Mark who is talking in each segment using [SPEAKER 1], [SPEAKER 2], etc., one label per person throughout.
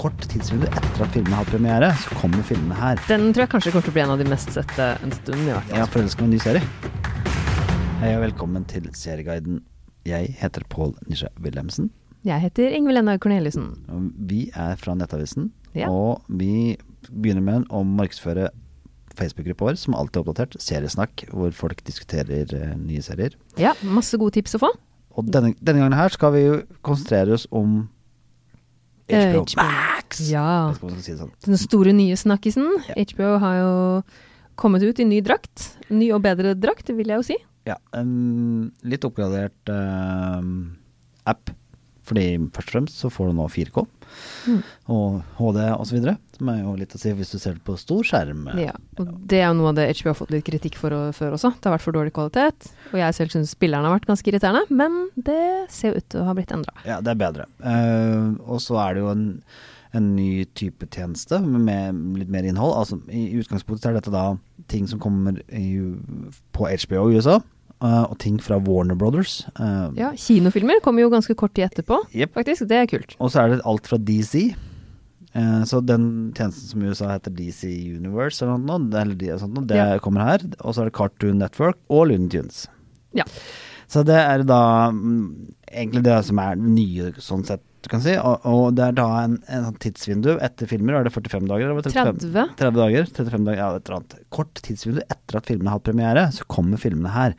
[SPEAKER 1] kort tidsvindu etter at filmene har premiere, så kommer filmene her.
[SPEAKER 2] Den tror jeg kanskje kommer til å bli en av de mest sette en stund. i hvert fall.
[SPEAKER 1] Jeg er forelska i en ny serie. Hei og velkommen til Serieguiden. Jeg heter Pål Nisje Wilhelmsen.
[SPEAKER 2] Jeg heter Ingvild Enna Korneliussen.
[SPEAKER 1] og Vi er fra Nettavisen,
[SPEAKER 2] Ja.
[SPEAKER 1] og vi begynner med å markedsføre Facebook-gruppa vår, som alltid er oppdatert, Seriesnakk, hvor folk diskuterer eh, nye serier.
[SPEAKER 2] Ja, masse gode tips å få.
[SPEAKER 1] Og denne, denne gangen her skal vi jo konsentrere oss om
[SPEAKER 2] Eh,
[SPEAKER 1] HBO,
[SPEAKER 2] HBO.
[SPEAKER 1] Max!
[SPEAKER 2] Ja.
[SPEAKER 1] Jeg vet ikke om jeg skal si det sånn.
[SPEAKER 2] Den store nye snakkisen.
[SPEAKER 1] Ja.
[SPEAKER 2] HBO har jo kommet ut i ny drakt. Ny og bedre drakt, vil jeg jo si.
[SPEAKER 1] Ja, en litt oppgradert ehm, app. Fordi først og fremst så får du nå 4K
[SPEAKER 2] Mm.
[SPEAKER 1] og HD osv. Som er jo litt å si hvis du ser det på stor skjerm.
[SPEAKER 2] Ja, og Det er jo noe av det HBO har fått litt kritikk for og- før også. Det har vært for dårlig kvalitet. Og jeg selv syns spillerne har vært ganske irriterende, men det ser jo ut til å ha blitt endra.
[SPEAKER 1] Ja, det er bedre. Eh, og så er det jo en, en ny type tjeneste med litt mer innhold. Altså, I utgangspunktet er dette da ting som kommer i, på HBO i USA, eh, og ting fra Warner Brothers. eh,
[SPEAKER 2] Ja, kinofilmer kommer jo ganske kort tid etterpå,
[SPEAKER 1] Jepp.
[SPEAKER 2] faktisk. Det er kult.
[SPEAKER 1] Og så er det alt fra DC. Eh, Så den tjenesten som i USA heter DC Universe eller noe, sånt nå, eller de- sånt nå, det
[SPEAKER 2] Ja.
[SPEAKER 1] kommer her. Og så er det Cartoon Network og Looney Tunes.
[SPEAKER 2] Ja.
[SPEAKER 1] Så det er da mm, egentlig det som er nye, sånn sett, du kan si. Og, og det er da en, en sånn tidsvindu etter filmer. Er det 45 dager? Eller 35?
[SPEAKER 2] 30.
[SPEAKER 1] 30 dager, 35 dager, ja, et eller annet. Kort tidsvindu etter at filmene har hatt premiere, så kommer filmene her.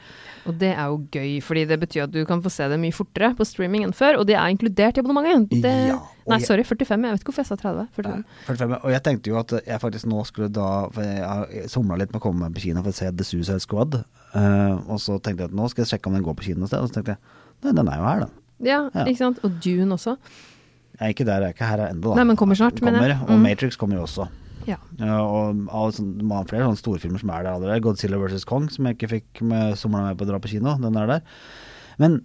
[SPEAKER 2] Og det er jo gøy, fordi det betyr at du kan få se det mye fortere på streaming enn før. Og det er inkludert i abonnementet. Det,
[SPEAKER 1] Ja, og
[SPEAKER 2] nei,
[SPEAKER 1] jeg-
[SPEAKER 2] sorry, 45. Jeg vet ikke hvorfor jeg sa 30. 45.
[SPEAKER 1] 45, og jeg tenkte jo at jeg faktisk nå skulle da For jeg har somla litt med å komme meg på kino for å se The Suicide Squad. Eh, og så tenkte jeg at nå skal jeg sjekke om den går på kino et sted. Og så tenkte jeg nei, den er jo her, da.
[SPEAKER 2] Ja,
[SPEAKER 1] Ja.
[SPEAKER 2] ikke sant. Og Dune også.
[SPEAKER 1] Jeg er ikke der, jeg er ikke her ennå, da.
[SPEAKER 2] Nei, men kommer snart,
[SPEAKER 1] Den
[SPEAKER 2] mener
[SPEAKER 1] kommer,
[SPEAKER 2] jeg.
[SPEAKER 1] Og
[SPEAKER 2] Mm.
[SPEAKER 1] Matrix kommer jo også.
[SPEAKER 2] Ja.
[SPEAKER 1] Ja, og av sånn, man har flere sånne storfilmer som er der allerede. Godzilla vs. Kong, som jeg ikke fikk med somla med på å dra på kino. Den er der. Men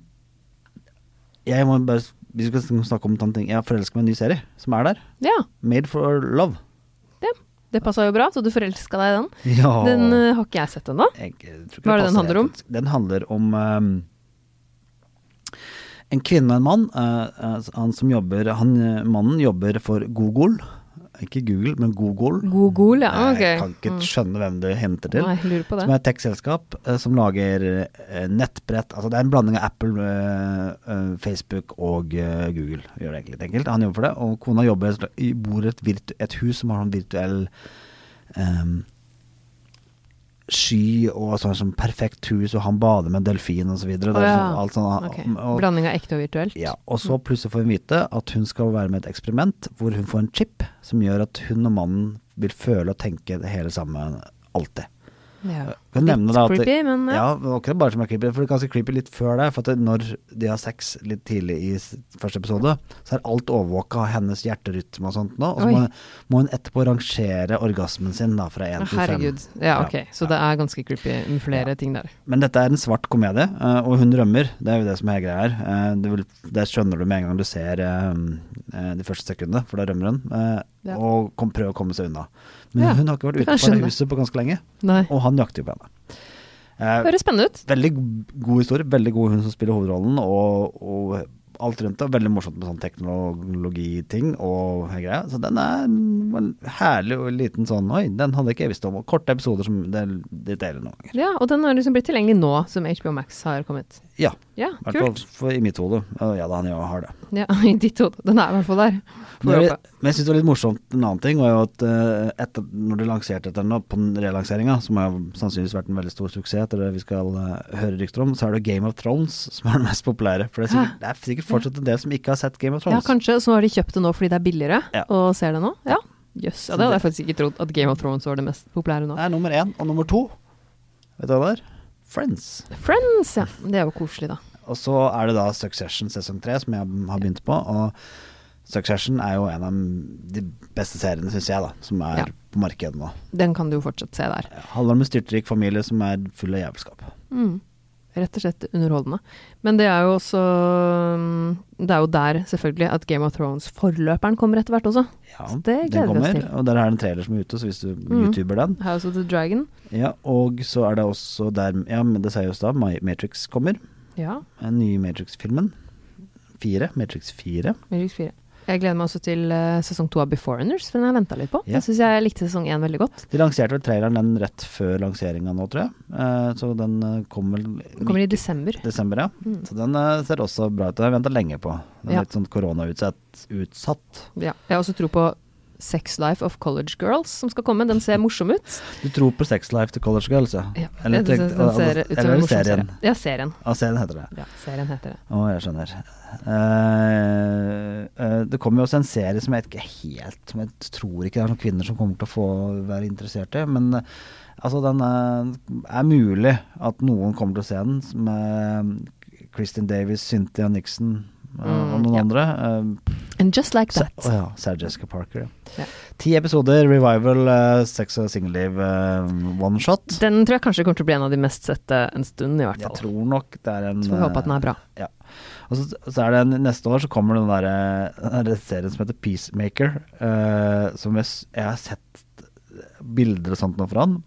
[SPEAKER 1] jeg må bare Hvis vi skal snakke om en annen ting Jeg er forelska med en ny serie som er der.
[SPEAKER 2] ja
[SPEAKER 1] Made for love.
[SPEAKER 2] det. Det passa jo bra, så du forelska deg i den.
[SPEAKER 1] Ja.
[SPEAKER 2] Den eh, har ikke jeg sett ennå.
[SPEAKER 1] Jeg, jeg tror ikke
[SPEAKER 2] Hva er det den
[SPEAKER 1] passer
[SPEAKER 2] handler om?
[SPEAKER 1] helt. Den handler om eh, en kvinne og en mann. eh, eh, han som jobber, han, eh, mannen jobber for Google. Ikke Google, men Google.
[SPEAKER 2] Google, ja.
[SPEAKER 1] Eh,
[SPEAKER 2] Ok. Mm.
[SPEAKER 1] Jeg kan ikke skjønne hvem det henter til.
[SPEAKER 2] Nei, jeg lurer på det.
[SPEAKER 1] Som er et tech-selskap eh, som lager eh, nettbrett Altså det er en blanding av Apple, eh, eh, Facebook og eh, Google. Gjør det egentlig litt enkelt. Han jobber for det. Og kona jobber i bor i et, virtu et hus som har sånn virtuell eh, sky og sånn som perfekt hus, og han bader med en delfin osv. Så
[SPEAKER 2] Å,
[SPEAKER 1] videre.
[SPEAKER 2] ja.
[SPEAKER 1] Alt sånn,
[SPEAKER 2] Ok.
[SPEAKER 1] og,
[SPEAKER 2] Blanding av ekte og virtuelt.
[SPEAKER 1] ja, og så plutselig får hun vite at hun skal være med i et eksperiment hvor hun får en chip som gjør at hun og mannen vil føle og tenke det hele sammen alltid.
[SPEAKER 2] Ja.
[SPEAKER 1] Kan nevne da at det-
[SPEAKER 2] creepy, men ja.
[SPEAKER 1] ja, det var ikke bare som er creepy, for det er ganske creepy litt før det. For at det- når de har sex litt tidlig i s- første episode, så er alt overvåka av hennes hjerterytme og sånt nå. Og så
[SPEAKER 2] Oi.
[SPEAKER 1] må, hun- må hun etterpå rangere orgasmen sin da, fra én
[SPEAKER 2] Å,
[SPEAKER 1] til fem.
[SPEAKER 2] Herregud. Ja, ok.
[SPEAKER 1] ja.
[SPEAKER 2] Så det er ganske creepy med flere ting der.
[SPEAKER 1] Men dette er en svart komedie, eh, og hun rømmer. Det er jo det som er greia her. Eh, Det, vil, det skjønner du med en gang du ser eh, eh, de første sekundene, for da rømmer hun. eh,
[SPEAKER 2] Ja.
[SPEAKER 1] Og kom, prøver å komme seg unna. Men
[SPEAKER 2] Ja,
[SPEAKER 1] hun har ikke vært
[SPEAKER 2] det kan jeg
[SPEAKER 1] utenfor det
[SPEAKER 2] skjønne.
[SPEAKER 1] huset på ganske lenge,
[SPEAKER 2] Nei.
[SPEAKER 1] og han jakter jo på henne. Eh,
[SPEAKER 2] Høres spennende ut.
[SPEAKER 1] Veldig g- god historie, veldig god hun som spiller hovedrollen, og, og alt rundt det. Veldig morsomt med sånn teknologiting og greier. Så den er en- en herlig og liten sånn Oi, den hadde ikke jeg visst om. Og korte episoder som det det deler noen ganger.
[SPEAKER 2] Ja, og den har liksom blitt tilgjengelig nå som HBO Max har kommet.
[SPEAKER 1] Ja.
[SPEAKER 2] Ja,
[SPEAKER 1] I hvert
[SPEAKER 2] kult.
[SPEAKER 1] fall for- i mitt hode. Og Ja da, han jo har det.
[SPEAKER 2] Ja, I ditt hode. Den er i hvert fall der. Får
[SPEAKER 1] Men,
[SPEAKER 2] håpe.
[SPEAKER 1] men jeg syns det var litt morsomt en annen ting, var jo at eh, etter, når de lanserte dette nå, på den relanseringa, som har jo sannsynligvis vært en veldig stor suksess etter det vi skal eh, høre rykter om, så er det Game of Thrones som er den mest populære. For det er sikkert, det er sikkert fortsatt en del som ikke har sett Game of
[SPEAKER 2] Ja,
[SPEAKER 1] Thrones.
[SPEAKER 2] kanskje. Så har de kjøpt det nå fordi det er billigere,
[SPEAKER 1] Ja.
[SPEAKER 2] og ser det nå. Ja,
[SPEAKER 1] Så
[SPEAKER 2] jøss. Ja, det hadde
[SPEAKER 1] det-
[SPEAKER 2] jeg faktisk ikke trodd, at Game of Thrones var det mest populære nå.
[SPEAKER 1] Det er nummer én. Og nummer to, vet du hva det er? Friends.
[SPEAKER 2] Friends, ja. Det er jo koselig, da.
[SPEAKER 1] Og så er det da Succession sesong tre, som jeg har begynt på. Og Succession er jo en av de beste seriene, syns jeg, da, som er
[SPEAKER 2] Ja.
[SPEAKER 1] på markedet nå.
[SPEAKER 2] Den kan du jo fortsatt se der.
[SPEAKER 1] Handler om en styrtrik familie som er full av jævelskap.
[SPEAKER 2] Mm. Rett og slett underholdende. Men det er jo også mm, Det er jo der, selvfølgelig, at Game of Thrones-forløperen kommer etter hvert også.
[SPEAKER 1] Ja,
[SPEAKER 2] Så det gleder
[SPEAKER 1] den
[SPEAKER 2] vi oss
[SPEAKER 1] kommer,
[SPEAKER 2] til. Mhm.
[SPEAKER 1] Og der er det en trailer som er ute, så hvis du youtuber den
[SPEAKER 2] House of the Dragon.
[SPEAKER 1] Ja, Og så er det også der Ja, men det sier jo da, Matrix kommer.
[SPEAKER 2] Ja.
[SPEAKER 1] Den nye Matrix-filmen. Fire. Matrix 4.
[SPEAKER 2] Matrix 4. Jeg gleder meg også til eh, sesong to av Beforeigners, for den har jeg venta litt på.
[SPEAKER 1] Ja.
[SPEAKER 2] Jeg syns jeg likte sesong én veldig godt.
[SPEAKER 1] De lanserte vel traileren den rett før lanseringa nå, tror jeg. Eh, så den eh, kom vel
[SPEAKER 2] Den kommer i desember.
[SPEAKER 1] desember, ja.
[SPEAKER 2] Mm.
[SPEAKER 1] Så den eh, ser også bra ut. Den har jeg venta lenge på. Den er
[SPEAKER 2] Ja.
[SPEAKER 1] Litt sånn koronautsatt. Utsatt.
[SPEAKER 2] Ja. Jeg har også tro på Sex Life of College Girls som skal komme. Den ser morsom ut.
[SPEAKER 1] Du tror på Sex Life til College Girls, ja?
[SPEAKER 2] Ja.
[SPEAKER 1] Eller, altså,
[SPEAKER 2] jeg synes den ser ut som en
[SPEAKER 1] eller
[SPEAKER 2] morsom
[SPEAKER 1] serien.
[SPEAKER 2] serie. Ja, serien.
[SPEAKER 1] Ja, serien heter det.
[SPEAKER 2] Ja, serien heter det.
[SPEAKER 1] Å, jeg skjønner. Eh, eh, det kommer jo også en serie som jeg ikke helt som Jeg tror ikke det er noen kvinner som kommer til å få være interessert i, men eh, altså den er, er mulig at noen kommer til å se den, med Kristin Davis, Cynthia Nixon eh, og
[SPEAKER 2] Mm,
[SPEAKER 1] noen
[SPEAKER 2] ja.
[SPEAKER 1] andre. Eh,
[SPEAKER 2] And just like
[SPEAKER 1] Sa-
[SPEAKER 2] that.
[SPEAKER 1] Å ja, Sarah Jessica Parker.
[SPEAKER 2] Ja.
[SPEAKER 1] Ja. Ti episoder revival, eh, sex og singelliv, eh, one shot.
[SPEAKER 2] Den tror jeg kanskje kommer til å bli en av de mest sette en stund, i hvert
[SPEAKER 1] Jeg
[SPEAKER 2] fall.
[SPEAKER 1] tror nok det er en
[SPEAKER 2] Så får vi håpe
[SPEAKER 1] eh,
[SPEAKER 2] at den er bra.
[SPEAKER 1] Og så, så er det en, neste år så kommer den der, eh, den der serien som heter Peacemaker, eh, som jeg, s- jeg har sett bilder og sånt nå fra den,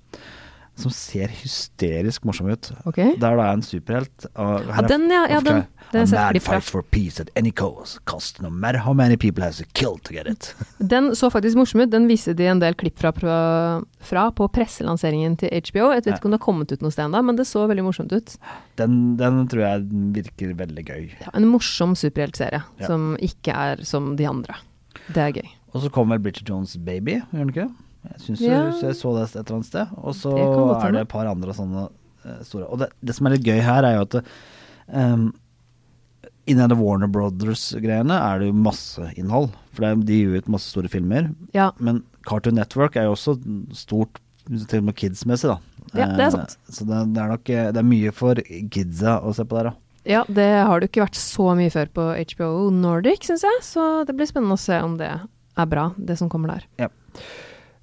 [SPEAKER 1] som ser hysterisk morsom ut.
[SPEAKER 2] Ok?
[SPEAKER 1] Der da er en superhelt. Og her
[SPEAKER 2] Ja,
[SPEAKER 1] er-
[SPEAKER 2] den, ja. ja den, den
[SPEAKER 1] A
[SPEAKER 2] ser
[SPEAKER 1] mad
[SPEAKER 2] veldig bra
[SPEAKER 1] fight for peace at any cost, cost no matter how many people has to kill to get it.
[SPEAKER 2] Den så faktisk morsom ut. Den viste de en del klipp fra, fra, fra på presselanseringen til HBO. Jeg vet
[SPEAKER 1] Ja.
[SPEAKER 2] ikke om det har kommet ut noe sted ennå, men det så veldig morsomt ut.
[SPEAKER 1] Den, den tror jeg virker veldig gøy.
[SPEAKER 2] En morsom superheltserie
[SPEAKER 1] Ja.
[SPEAKER 2] som ikke er som de andre. Det er gøy.
[SPEAKER 1] Og så kommer vel Bridget Jones' Baby, gjør den ikke det? Jeg syns
[SPEAKER 2] Ja.
[SPEAKER 1] jeg- jeg så det et eller annet sted. Og så
[SPEAKER 2] Det kan godt
[SPEAKER 1] er
[SPEAKER 2] hende.
[SPEAKER 1] det et par andre sånne eh, store. Og det, det som er litt gøy her, er jo at um, innen det Warner Brothers-greiene er det jo masse innhold. For det er, de gir ut masse store filmer.
[SPEAKER 2] Ja,
[SPEAKER 1] Men Cartoon Network er jo også stort, til og med kids-messig, da.
[SPEAKER 2] Ja, det er
[SPEAKER 1] Eh,
[SPEAKER 2] sant.
[SPEAKER 1] Så det, det er nok eh, det er mye for kidsa å se på der, da.
[SPEAKER 2] ja det har det ikke vært så mye før på HBO Nordic, syns jeg. Så det blir spennende å se om det er bra, det som kommer der.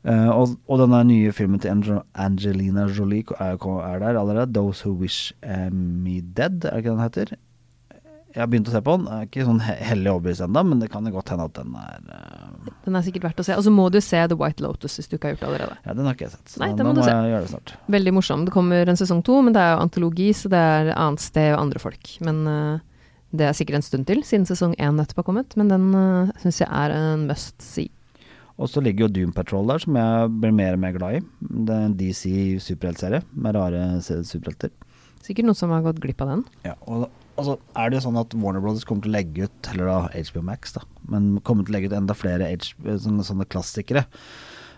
[SPEAKER 1] Eh, og, og denne nye filmen til Ange- Angelina Jolie ko- er, ko- er der allerede. 'Those Who Wish eh, Me Dead', er det ikke den heter? Jeg har begynt å se på den. Jeg er ikke sånn he- hellig overbevist ennå, men det kan jo godt hende at den er eh,
[SPEAKER 2] Den er sikkert verdt å se. Og så må du se The White Lotus hvis du ikke har gjort det allerede.
[SPEAKER 1] Ja, den har ikke jeg sett. Så
[SPEAKER 2] Nei, den
[SPEAKER 1] da
[SPEAKER 2] må du se.
[SPEAKER 1] jeg gjøre det snart.
[SPEAKER 2] Veldig morsom. Det kommer en sesong to, men det er jo antologi, så det er annet sted og andre folk. Men eh, det er sikkert en stund til, siden sesong én nettopp har kommet. Men den uh, syns jeg er en must see.
[SPEAKER 1] Og så ligger jo Doom Patrol der, som jeg blir mer og mer glad i. Det er en DC superheltserie med rare se- superhelter.
[SPEAKER 2] Sikkert noen som har gått glipp av den.
[SPEAKER 1] Ja, og altså, er det jo sånn at Warner Brothers kommer til å legge ut, eller da HBO Max, da, men kommer til å legge ut enda flere H- eh, sånne, sånne klassikere.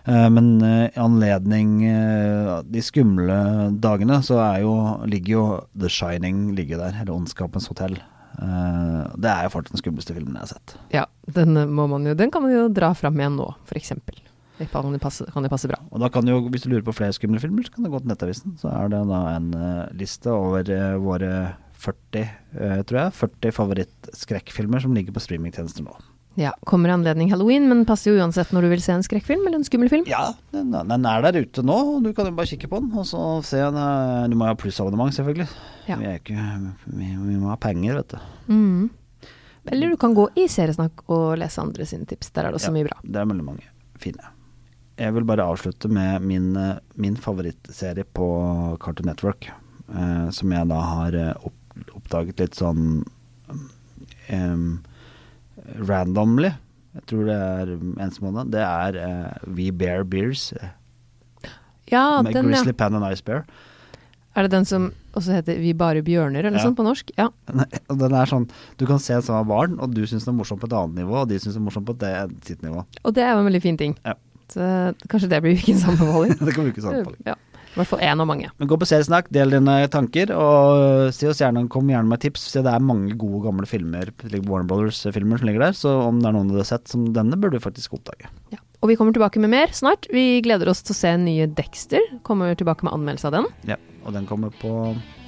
[SPEAKER 1] Eh, men eh, i anledning eh, de skumle dagene, så er jo, ligger jo The Shining ligger der, eller Ondskapens hotell. Eh, det er jo fortsatt den skumleste filmen jeg har sett.
[SPEAKER 2] Ja, den, eh, må man jo, den kan man jo dra fram igjen nå, f.eks. Det kan jo passe, kan jo passe bra.
[SPEAKER 1] Og da kan jo, hvis du lurer på flere skumle filmer, så kan du gå til Nettavisen. Så er det da en eh, liste over eh, våre 40, eh, tror jeg, 40 favorittskrekkfilmer som ligger på streamingtjenester nå.
[SPEAKER 2] Ja, Kommer i anledning halloween, men passer jo uansett når du vil se en skrekkfilm eller en skummel film.
[SPEAKER 1] Ja, den, den er der ute nå, og du kan jo bare kikke på den. Og så se den. eh, Du må jo ha plussabonnement, selvfølgelig.
[SPEAKER 2] Ja.
[SPEAKER 1] Vi, er ikke, vi, vi må ha penger, vet du.
[SPEAKER 2] Mhm. Eller du kan gå i Seriesnakk og lese andre sine tips. Der er det også
[SPEAKER 1] Ja.
[SPEAKER 2] mye bra.
[SPEAKER 1] Det er veldig mange fine. Jeg vil bare avslutte med min, eh, min favorittserie på Cartoon Network. eh, som jeg da har eh, opp, oppdaget litt sånn em, randomly. Jeg tror det er en som måned. Det er eh, We Bear Bears eh,
[SPEAKER 2] Ja,
[SPEAKER 1] med
[SPEAKER 2] Ah, den, ja.
[SPEAKER 1] Grizzly Pan and Ice Bear.
[SPEAKER 2] Er det den som også heter Vi bare bjørner, eller
[SPEAKER 1] Ja.
[SPEAKER 2] sånn på norsk? Ja.
[SPEAKER 1] Nei, og Den er sånn, Du kan se en som har barn, og du syns den er morsom på et annet nivå, og de syns den er morsom på det, sitt nivå.
[SPEAKER 2] Og det er jo en veldig fin ting.
[SPEAKER 1] Ja.
[SPEAKER 2] Så kanskje det blir ukens anbefaling.
[SPEAKER 1] det kan brukes anbefaling.
[SPEAKER 2] ja. I hvert fall én av mange.
[SPEAKER 1] Men Gå på Seriesnakk, del dine tanker, og øh, si oss gjerne, kom gjerne med tips. Se, det er mange gode, gamle filmer, like Warner Brothers-filmer som ligger der, så om det er noen du har sett som denne, burde du faktisk oppdage.
[SPEAKER 2] Ja. Og vi kommer tilbake med mer snart. Vi gleder oss til å se nye Dexter. Kommer tilbake med anmeldelse av den.
[SPEAKER 1] Ja, og den kommer på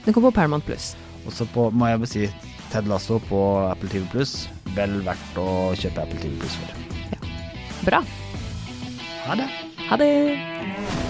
[SPEAKER 2] Den kommer på Paramount Plus.
[SPEAKER 1] Også på, må jeg bare si, Ted Lasso på Apple TV Pluss. Vel verdt å kjøpe Apple TV Pluss for.
[SPEAKER 2] Bra.
[SPEAKER 1] Ha det.
[SPEAKER 2] Ha det!